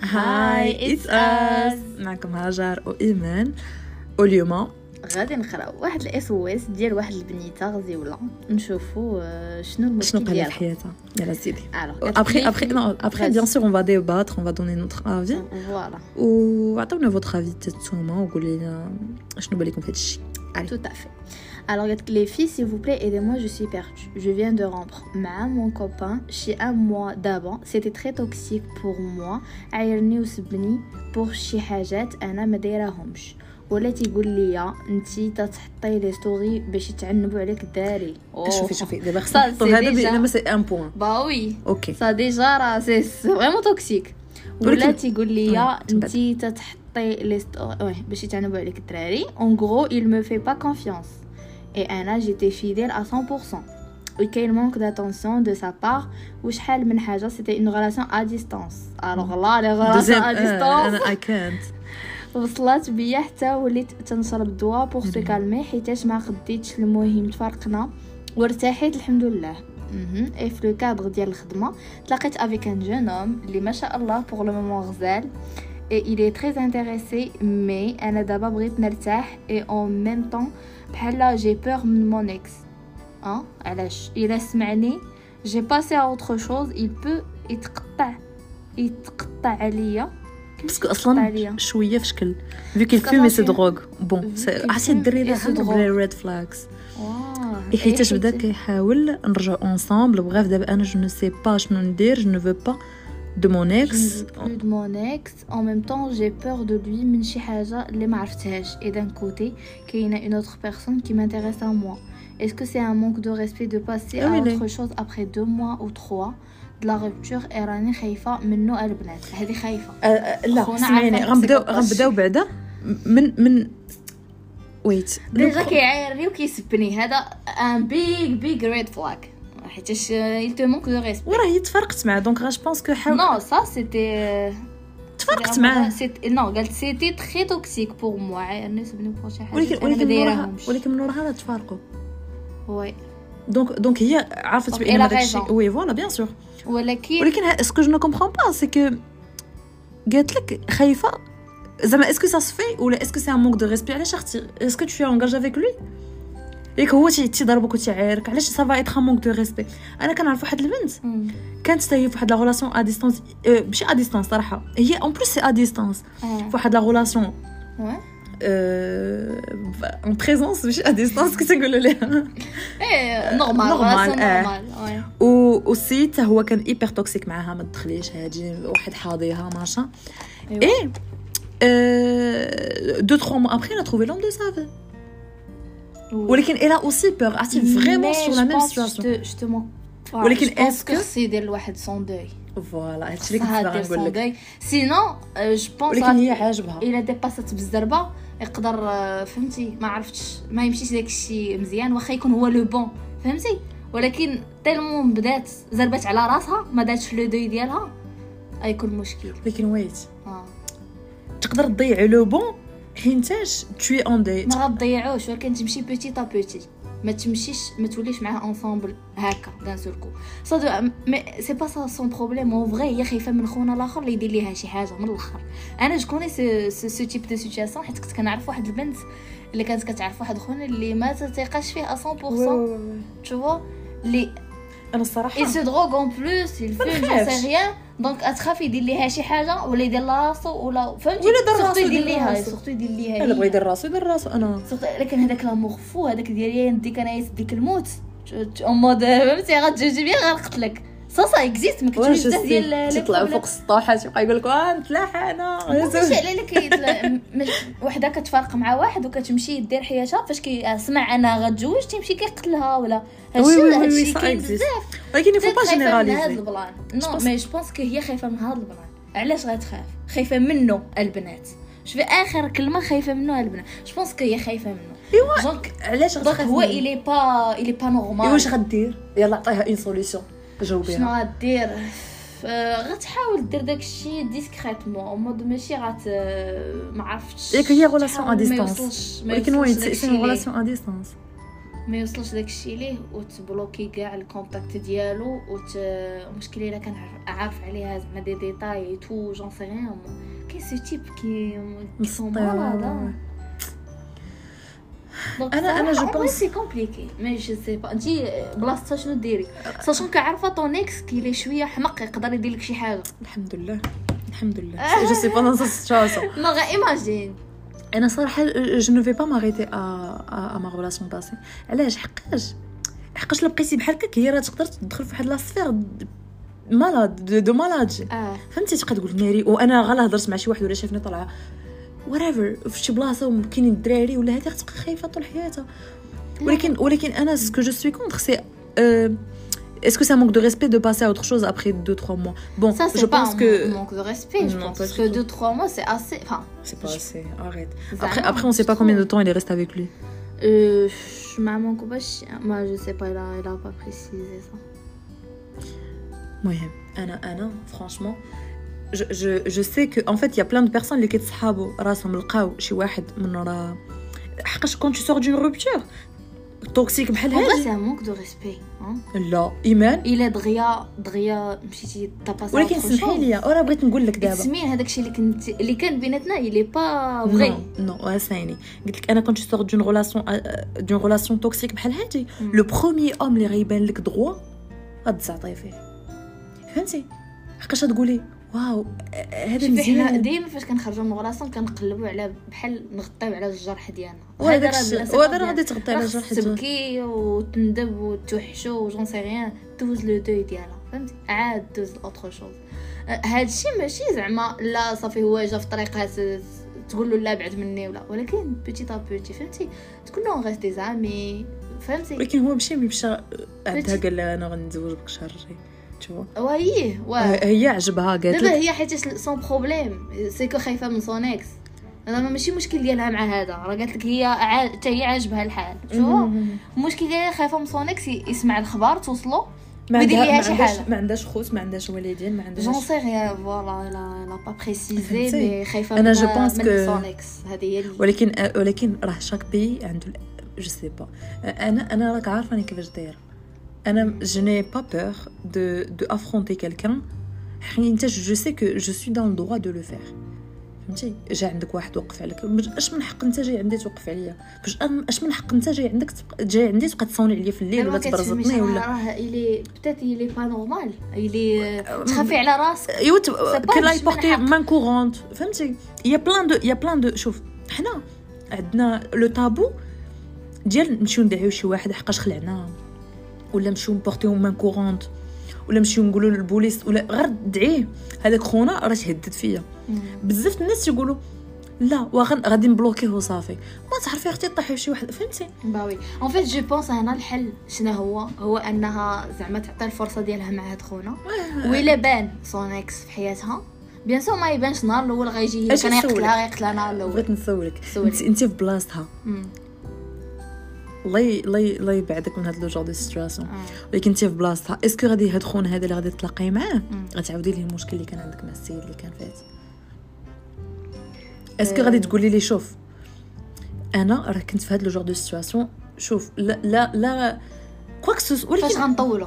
هاي اتس اس معكم هاجر وإيمان واليوم غادي نقراو واحد الاس او اس ديال واحد البنيته غزيوله نشوفوا آه، شنو شنو المشكل قال ديالها في حياتها يلا سيدي الوغ Après, après, non, après, bien sûr, on va débattre, on va donner notre avis. فوالا Ou attendez votre avis, peut-être sûrement, ou les, euh, je n'oublie qu'on fait chier. Allez. Tout à fait. Alors, les filles, s'il vous plaît, aidez-moi, je suis perdue. Je viens de rompre. Ma, mon copain, chez un mois d'avant, c'était très toxique pour moi. عايرني وسبني pour شي حاجات انا ما دايرهمش ولا تيقول لي انتي تتحطي لي ستوري باش يتعنبوا عليك الدراري شوفي شوفي دابا Oh. Ça, خصنا نحطوا c'est هذا déjà- بان سي ان بوان با وي اوكي سا ديجا راه سي فريمون توكسيك ولا ولكن- تيقول لي آه، تبعد. انتي تتحطي لي ستوري واه باش يتعنبوا عليك الدراري اون غرو il me fait pas confiance et انا جيتي فيديل à 100% وكاين مانك d'attention de sa part وشحال من حاجه c'était une relation à distance alors là les relations دوزيام à distance انا اي كانت وصلت بيا حتى وليت تنشرب دواء بوغ سو مم. كالمي حيتاش ما خديتش المهم تفرقنا وارتحيت الحمد لله مهم. اي في لو كادغ ديال الخدمه تلاقيت افيك ان جون هوم اللي ما شاء الله بوغ لو مومون غزال اي il est très intéressé مي انا دابا بغيت نرتاح اي اون ميم طون بحال جي بور من مون اكس اه علاش الا سمعني جي باسي ا اوتر شوز il peut يتقطع يتقطع عليا باسكو يتقطع اصلا عليا شويه في شكل فيو كيل باسكو فيوم اي سي أصلا دروغ بون Vu سي- qu'il حسيت fume الدري et اللي se عنده drogue. بلي ريد فلاكس واه اي حيتاش بدا كيحاول نرجعو انصامبل بغاف دابا انا جو نو سي با شنو ندير جو نو فو با دو مون Je اكس ne veux plus de mon ex. En même temps, j'ai peur de lui من شي حاجة اللي ما عرفتهاش. Et d'un côté, كاينة une autre personne qui m'intéresse à moi. Est-ce que c'est un manque de respect de passer Ah à oui, les- autre chose après deux mois ou trois de la rupture et راني خايفة منه البنات. هذه خايفة. لا خونا سمعيني عارفة غنبداو نفسك غنبداو بعدا من من ويت ديجا كيعايرني وكيسبني هذا ان بيج بيج ريد فلاك. حيتاش il te manque de respect. وراه هي تفرقت معاه دونك غا جو بونس كو حاول Non, ça c'était euh, تفرقت معاه سيت نو قالت سيتي تري توكسيك بور موا عيرني وسبني بوغ شي حاجة ولكن أنا ما ولكن من وراها دايرهمش. ولكن من وراها راه تفارقوا وي دونك دونك هي عرفت Donc, بان elle a هذاك الشيء raison. وي فوالا بيان سور ولكن ولكن اسكو جو نو كومبخون با سي كو قالت لك خايفه زعما اسكو سا سفي ولا اسكو سي ان مونك دو ريسبي علاش اختي اسكو تو انغاج افيك لوي ياك هو تي- تيضربك وتيعايرك علاش سافا ايتخ مونك دو ريسبي انا كنعرف واحد البنت مم. كانت حتى هي فواحد لا غولاسيون ا ديستانس أه، ماشي ا ديستانس صراحه هي اون بليس سي ا ديستانس آه. فواحد لا غولاسيون واه. euh, اون بريزونس ماشي ا ديستانس كنت نقول لها ايه نورمال نورمال، نورمال آه. نورمال و- والسيد حتى هو كان ايبر توكسيك معاها ما تدخليش هادي واحد حاضيها ماشا إيه، إيوا. اي أه، دو تخوا موا ابخي انا تروفي لوم دو سافي ولكن الا اوسي بور عرفتي فريمون سور لا ميم سيتواسيون جوستومون ولكن اسكو est-ce que- خصو يدير لواحد سون دوي فوالا هادشي اللي كنت خصها باغا دير نقول سون لك دوي سينو جو ولكن هي بونس عاجبها الا ديباسات بالزربه يقدر آه، فهمتي ما عرفتش ما يمشيش داك الشيء مزيان واخا يكون هو لو بون فهمتي ولكن تالمون بدات زربت على راسها ما داتش لو دوي ديالها غيكون مشكل ولكن ويت آه. تقدر تضيع لو بون حيتاش تشوي اون ديت ما غتضيعوش ولكن تمشي بوتي تا بوتي ما تمشيش ما توليش معاه اونسامبل هكا دان سول كو سا دو مي سي با سا سون بروبليم اون فغي هي خايفه من خونا الاخر اللي يدير ليها شي حاجه من الاخر انا جكوني سو سو- سو تيب دو سيتوياسيون حيت كنت كنعرف واحد البنت اللي كانت كتعرف واحد خونا اللي ما تثيقاش فيه 100% تشوفو اللي انا الصراحه il se drogue en plus il fume je نخافش. sais rien donc اتخاف يدير ليها شي حاجه ولا يدير لها راسو ولا فهمتي ولا دار Surtout راسو يدير يدير ليها راسو. سورتو يدير ليها انا هي. بغا يدير راسو يدير راسو انا صرت- لكن هذاك لامور فو هذاك ديال يا نديك انا يسديك الموت اون مود فهمتي غتجوجي بيا غنقتلك سا سا اكزيست ما كتشوفش بزاف ديال ال- تطلعوا ال- فوق السطوح تبقى يقول لك اه نتلاحى انا لا، ماشي على اللي كيتلا- م- وحده كتفارق مع واحد وكتمشي دير حياتها فاش كيسمع انا غتزوج تيمشي كيقتلها ولا وي- وي- هادشي وي- وي، هادشي ça كاين existe. بزاف ولكن يفو بدات با خايفه من هاد جينيراليزي البلان Je نو pense- مي جو بونس كو هي خايفه من هاد البلان علاش غتخاف خايفه منه البنات شوفي اخر كلمه خايفه منه البنات جو بونس كو هي خايفه منه إيوا. دونك علاش دونك غتخاف هو منه؟ الي با الي با نورمال إيوا واش غدير يلا عطيها اون سوليسيون شنو جاوبيها غدير آه، غتحاول دير داكشي ديسكريتمون مود ماشي غت آه، ما عرفتش ياك هي relation تحاول à ما distance. يوصلش- ما ولكن وين يوصلش سي داكشي اون ليه. ريلاسيون ا ديستانس ما يوصلش داكشي ليه وتبلوكي كاع الكونتاكت ديالو وت المشكله الا كان عارف- عارف عليها زعما دي ديتاي تو جون سي ريان كاين سو تيب كي كي سون مسطرة. مالاد أنا- أنا جو pense- سي كومبليكي مي جو سي با انت بلاصتها شنو ديري ساشون كعارفه طون اكس كي لي شويه حمق يقدر يدير لك شي حاجه الحمد لله الحمد لله je sais pas dans cette chanson ما غا ايماجين انا صراحه جو نو في با ماريتي ا ا ما غولاسيون باسي علاش حقاش حقاش لا بقيتي بحال هكاك هي راه تقدر تدخل في واحد لا سفير د- مالاد دو- دو مالاد اه فهمتي تبقى تقول ناري وانا غلا هضرت مع شي واحد ولا شافني طالعه whatever في شي بلاصه وكاينين الدراري ولا هذه غتبقى خايفه طول حياتها ولكن ولكن انا سكو جو سوي كونتر سي euh, Est-ce que ça manque de respect de passer à autre chose après 2-3 mois Bon, Ça, je c'est pas pense un que... manque de respect, je Non, pense. pas Parce du que tout. 2-3 mois, c'est assez. Enfin, C'est pas assez, arrête. ça Après, va, après on sait je pas trouve. combien de temps il reste avec lui. Euh, je- maman, comment je- Moi, je sais pas, il a, il a pas précisé ça. المهم انا انا فرانشمون جو جو جو سي كو ان فيت يا بلان دو بيرسون اللي كيتصحابوا راسهم لقاو شي واحد من راه حقاش كون تو سور دون روبتور توكسيك بحال En vrai, هادي c'est un manque de respect. Hein. لا ايمان Il est dria, dria, مشيتي تاباس ولكن سمحي لي وراه بغيت نقول لك دابا سمين هذاك الشيء اللي كنت اللي كان بيناتنا il est pas vrai نو اسمعني آه، قلت لك انا كنت سور دون غولاسيون دون غولاسيون توكسيك بحال هادي مم. لو بروميي اوم اللي غيبان لك دروا غتزعطي فيه فهمتي حقاش غتقولي واو آه، آه، هذا شوفي حنا مزيان ديما فاش كنخرجوا من غلاصه كنقلبوا على بحال نغطيو على الجرح ديالنا وهذاك راه الشيء- بلا وهذا راه سبب غادي تغطي على راه خص جرح الجرح. تبكي وتندب وتوحشو وجون سي ريان دوز لو دوي ديالها فهمتي عاد دوز اوتر شوز هادشي ماشي زعما لا صافي هو جا في طريقها س- س- تقول له لا بعد مني ولا ولكن بيتي تا بيتي فهمتي تكون لهم غير دي زامي فهمتي ولكن هو مشى مشى عندها فتي. قال لها انا غنتزوج بك الشهر الجاي شوفوا وايه واه هي عجبها قالت دابا لك هي حيت سون بروبليم سيكو خايفه من سون اكس زعما ماشي مشكل ديالها مع هذا راه قالت لك هي عا- حتى هي عاجبها الحال شوف مم. المشكل ديالها خايفه من سون اكس ي- يسمع الخبر توصلو ما ويدير عندها ما ليها شي عندهاش حاجة. ما عندهاش خوت ما عندهاش والدين ما جون عندهاش سي غير فوالا لا لا با بريسيزي فهمتي؟ مي خايفه أنا من جو بونس من كو- سون اكس هذه هي اللي ولكن آه، ولكن راه شاك بي عنده ال- جو سي با آه، انا انا راك عارفه انا كيفاش دايره انا جو ني با بور دو دو افرونتي كالكان حيت جو سي كو جو سوي دون دروا دو لو فير فهمتي جا عندك واحد وقف عليك مش- اش من حق انت جاي عندي توقف عليا باش أم- اش من حق انت جاي عندك تبقى- جاي عندي تبقى تصوني عليا في الليل ولا تبرزطني ولا راه الي بتات الي با نورمال الي تخافي على راسك ايوا تب- C'est pas كان لا مش من يبورتي حق. مان كورونت فهمتي يا بلان دو يا بلان دو شوف حنا عندنا لو تابو ديال نمشيو ندعيو شي واحد حقاش خلعنا ولا نمشيو نبورتيو مان كورونت ولا نمشيو نقولوا للبوليس ولا غير دعيه هذاك خونا راه تهدد فيا Mm. بزاف الناس يقولوا لا واغن غادي نبلوكيه وصافي ما تعرفي اختي طيحي في شي واحد فهمتي باوي اون فيت جو بونس هنا الحل شنو هو هو انها زعما تعطي الفرصه ديالها مع هاد خونا ويلا بان سون اكس في حياتها بيان سور ما يبانش النهار الاول غيجي هي أش كان نسولك؟ يقتلها غيقتلها النهار بغيت الاول نسولك سولي. انت انت في بلاصتها أمم. الله ي- الله ي- الله يبعدك من هاد لو جور دو سيتوياسيون آه. ولكن انت في بلاصتها اسكو غادي هاد خون هذا اللي غادي تلاقاي معاه مم. غتعاودي ليه المشكل اللي كان عندك مع السيد اللي كان فات آه. اسكو غادي تقولي لي شوف انا راه كنت في هاد لو جور دو سيتوياسيون شوف لا لا لا كواك سوس فاش ولكن غنطولو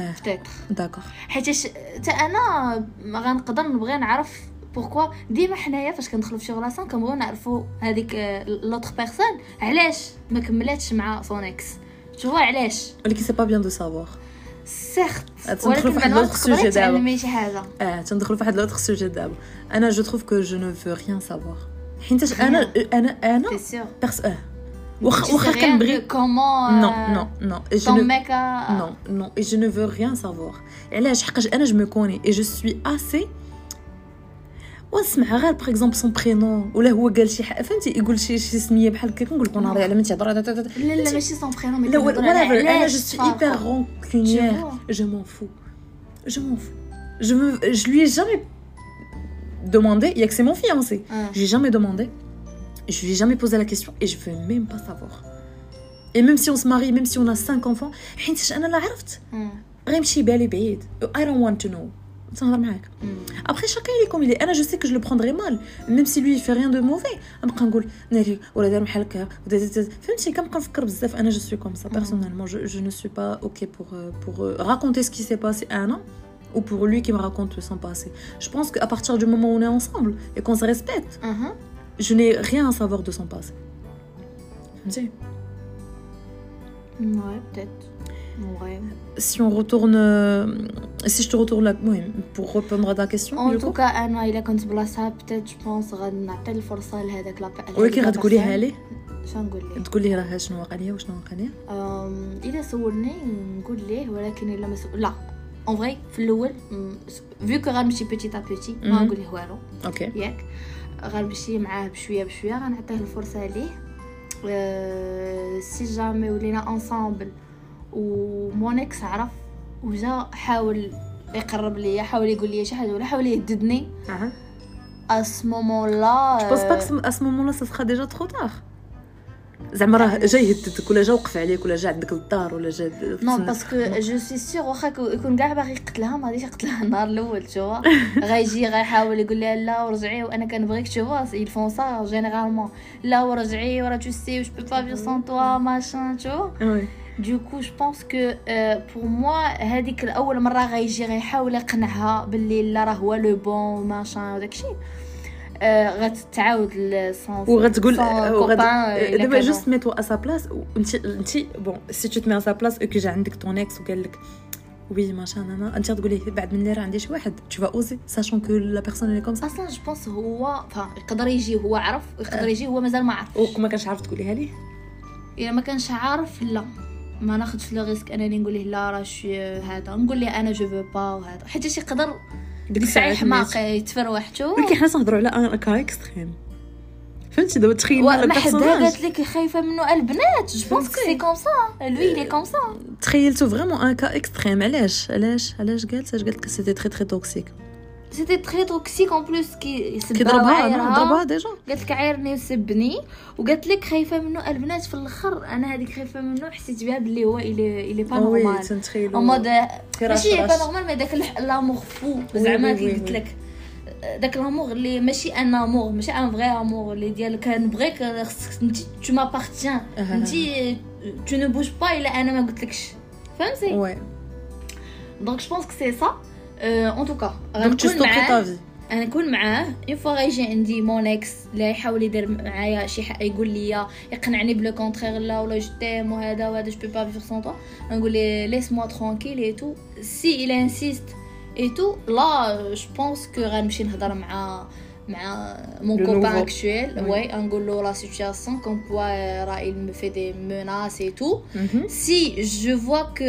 آه. فتيتر داكوغ حيتاش حتى انا ما غنقدر نبغي نعرف بوركوا ديما حنايا فاش كندخلو في شي غلاصه كنبغيو نعرفو هذيك آه، لوتر بيرسون علاش ما كملاتش مع سون اكس شوفوا علاش ولكن سي با بيان دو سافوار سيرت تندخلو في واحد ولكن مع الوقت الأوتر سوجي تقدري دابا. تعلمي شي حاجه اه تندخلوا في واحد لوتر سوجي دابا انا جو تروف كو جو نو فو ريان سافوار حيتاش انا انا انا سي سيغ بيرس اه واخا واخا كنبغي كومون نو نو نو جو طون نو ميكا Non, non, et je ne veux rien savoir. علاش حقاش انا je me connais et je suis assez ونسمع غير باغ اكزومبل سون برينون ولا هو قال شي حاجه فهمتي يقول شي شي سميه بحال هكا كنقول لك انا راه على من تهضر هذا- هذا- هذا. لا لا ماشي سون برينون مي لا ولا كنهضر على whatever. انا علاش جو سوي تفارقوا. هيبر رونكونيير je m'en fous je m'en fous je me je lui ai jamais demandé il y a que c'est mon fiancé آه. je lui ai jamais demandé je lui ai jamais posé la question et je veux même pas savoir et même si on se marie même si on a cinq enfants حيت انا لا عرفت أمم. غيمشي بالي بعيد I Oh, don't want to know تنهضر معاك mm, ابخي شاكين لي كوميدي انا جو سي كو جو لو بروندري مال ميم سي لوي في ريان دو موفي نبقى نقول ناري ولا دار بحال هكا ودا- دا- دا- فهمتي كنبقى نفكر بزاف انا جو سوي كوم سا مم. بيرسونيلمون جو جو نو سوي با اوكي بور بور راكونتي سكي سي باسي انا ou pour lui qui me raconte son passé. Je pense qu'à partir du moment où on est ensemble et qu'on se respecte, اها je n'ai rien à savoir de son passé. فهمتي؟ واي بتات واي si on retourne euh, si je te retourne la oui, pour répondre à ta question اون du coup توكا انا الا كنت بلاصتها بتات جو بونس غنعطي الفرصه لهذاك لا ولكن غتقوليها ليه شنقول ليه تقول لي راه شنو واقع ليا وشنو واقع ليا أم، الا سولني نقول ليه ولكن الا ما سو... لا اون فغي في الاول فيو كو غنمشي بيتي تا بيتي ما مهم. نقول ليه والو اوكي ياك غنمشي معاه بشويه بشويه غنعطيه الفرصه ليه أه، سي جامي ولينا انصامبل ومونيكس عرف وجا حاول يقرب ليا حاول يقول لي شي حاجه ولا حاول يهددني ا مومون لا جو بونس با كو ا سو مومون لا سا سخا ديجا ترو تار زعما راه جا يهددك ولا جا وقف عليك ولا جا عندك للدار ولا جا نو باسكو جو سي سيغ واخا كو- يكون كاع باغي يقتلها ما غاديش يقتلها النهار الاول تشوا غيجي غيحاول يقول لها لا ورجعي وانا كنبغيك تشوا يل فون سا جينيرالمون لا ورجعي ورا تو سي جو بو با فيو سون توا ماشان تشوا وي دوكو جو بونس كو بور موا euh, هذيك الاول مره غيجي غيحاول يقنعها باللي لا راه هو لو بون ماشان وداكشي آه، غتعاود لسون وغتقول وغت- دابا دابا جوست ميتو ا سا بلاص انت انت بون سي تو تمي ا سا بلاص كي جا عندك طون اكس وقال لك وي ماشي انا انت تقولي بعد مني راه عندي شي واحد تو فا اوزي ساشون كو لا بيرسون اللي كوم سا اصلا جو بونس هو فا يقدر يجي هو عرف يقدر إيه. يجي هو مازال ما عرف وما كانش عارف تقوليها ليه الا ما كانش عارف لا ما ناخذش لو ريسك انني نقول ليه لا راه شي هذا نقول ليه انا جو فو با وهذا حيت شي يقدر ديك يسعي حماق ماشي. يتفروح تو ولكن حنا تنهضروا على ان كا اكستريم فهمتي دابا تخيلنا ما حدا البيرسوناج قالت لك خايفه منه البنات جو بونس فهمتي. سي كوم سا لوي لي كوم سا تخيلتو فريمون ان كا اكستريم علاش علاش علاش قالت اش قالت لك سيتي تري تري توكسيك سيتي تري توكسيك اون بلوس كي كي يسبها ضربها انا وعايرها ضربها ديجا قالت لك عايرني وسبني وقالت لك خايفه منه البنات في الاخر انا هذيك خايفه منه حسيت بها باللي هو الي الي با وي نورمال تنتخيلو اون مود كراش ماشي با راش. نورمال مي داك الح- لامور فو وي، زعما وي، كي وي، قلت وي. لك داك لامور اللي ماشي ان امور ماشي ان فغي امور اللي ديالك كنبغيك خصك انت تو مابارتيان أها. انت تو نو بوج با الا انا ما قلتلكش فهمتي وي دونك جو بونس كو سي سا ان توكا دونك تو غنكون ستوبي معاه تا في انا نكون معاه اون فوا غيجي عندي مون اكس لا يحاول يدير معايا شي حق يقول لي يقنعني بلو كونترير لا ولا جو تيم وهذا وهذا جو بي با فيغ سون توا نقول ليه ليس موا ترونكيل اي تو سي il انسيست اي تو لا جو بونس كو غنمشي نهضر مع مع مون Le كوبان nouveau. اكشويل Oui. وي نقول له لا سيتوياسيون كوم كوا راه il euh, me fait des menaces et tout مهم. si je vois que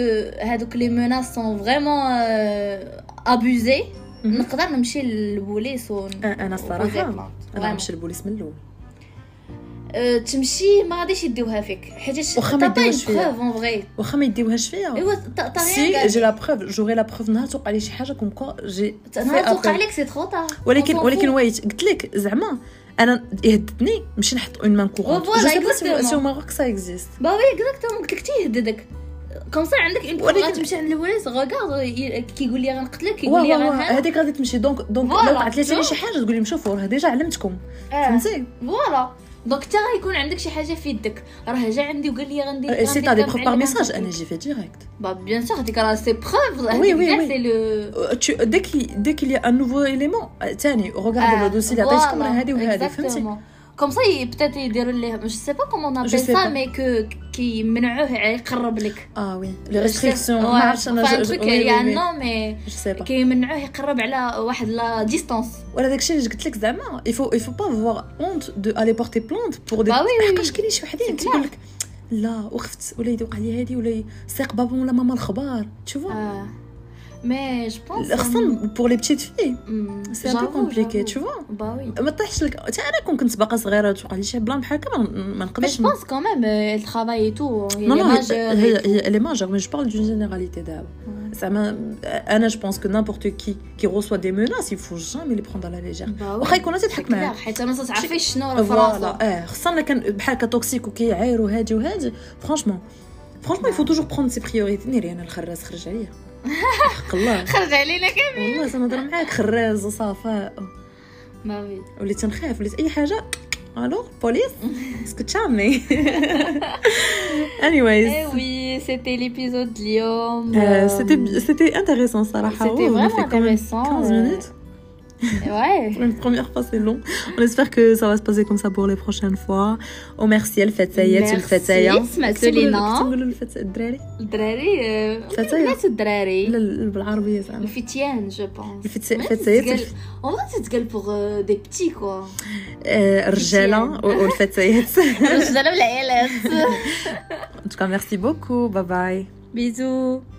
هادوك les menaces sont vraiment euh, abusées مهم. نقدر نمشي للبوليس ون... أ- انا الصراحه انا انا نمشي البوليس من الاول Euh, تمشي ما غاديش يديوها فيك حيت واخا ما يديوهاش فيا. بروف اون فغي واخا ما يديوهاش فيا ايوا ط- سي طريقة جي لا بروف جوري لا بروف نهار توقع لي شي حاجه كوم كوا جي ت- نهار في أبل. توقع لك سي تخو طار ولكن ولكن ويت قلت لك زعما انا يهددني نمشي نحط اون مان كورون Voilà, exactement. سي ماروك سا اكزيست با وي اكزاكتومون قلت لك تيهددك كوم سا عندك اون ولكن- ولكن تمشي عند البوليس غوكارد ي- كيقول لي غنقتلك كيقول واه لي واه واه، غنهان هذيك غادي تمشي دونك دونك Voilà, لو وقعت لي شوف. شي حاجه تقول لهم شوفوا راه ديجا علمتكم آه. فهمتي فوالا دونك حتى غيكون عندك شي حاجه في يدك راه جا عندي وقال لي غندير سي تا دي غندير بروف كذا بار وعندي ميساج كذا. انا جي في ديريكت Bah, bien sûr, هذيك راه سي بروف وي، وي، وي. سي لو دي كي دي كي لي ان نوفو ايليمون ثاني Ah. روغارد لو دوسي اللي عطيتكم راه هذه وهذه فهمتي كوم سا peut-être يديروا ليه جو سي با كومون Je نابيل sais سا pas. مي كو كيمنعوه يقرب لك اه وي لي ريستريكسيون ما عرفتش انا جو جو- تروك وي، وي، يا وي. نو مي جو سي با كيمنعوه يقرب على واحد لا ديستونس ولا داكشي اللي قلت لك زعما il faut il faut pas avoir honte de aller porter plainte pour des Bah oui, oui, oui. حقاش كاين شي وحدين C'est clair. تيقول لك لا وقفت ولا يدوق عليا هادي ولا سيق بابا ولا ماما الخبار Euh, تشوفوا مي جو بونس خصنا بور لي بتيت في hmm, سي ان بو كومبليكي تشوفوا با وي ما طيحش لك حتى انا كون كنت باقا صغيره توقع لي شي بلان بحال هكا ما- ما مي نقدرش جو بونس كون ميم الترافاي اي تو euh, Non, non, mais- euh, euh, هي هي لي ماجور مي جو بارل دون جينيراليتي دابا زعما انا جو بونس كو نامبورت كي كي روسوا دي موناس يفو جامي لي بروندر لا ليجير واخا يكون انت تضحك معاه حيت ما تعرفيش شنو راه في راسو فوالا اه خصنا الا كان بحال هكا توكسيك وكيعاير وهادي وهادي فرانشمون فرانشمون يفو توجور بروند سي بريوريتي ناري انا الخراس خرج عليا حق الله خرج علينا كامل والله تنهضر معاك خراز وصفاء ما بغيت وليت تنخاف وليت اي حاجه الو بوليس اسكو تشامي Eh anyways oui, c'était l'épisode de Lyon. آه، c'était c'était intéressant صراحه C'était Ouais, on a vraiment fait quand même intéressant, 15 euh, minutes Ouais. Pour une première fois, c'est long. On espère que ça va se passer comme ça pour les prochaines fois. Oh, merci, elle fait ça, elle Merci, fait ça. hein. سمعتوا كنتي تقولوا- لينا. كنتي تقولوا الفتاة الدراري الدراري آه، فتايا. بنات الدراري لا لا، بالعربية زعما الفتيان جو بونس الفت- الفتيات. اون تتقال بوغ دي بتي كوا آه، الرجالة مزيان. و- والفتيات. الرجاله والعيالات En tout cas, merci beaucoup. Bye bye. بيزو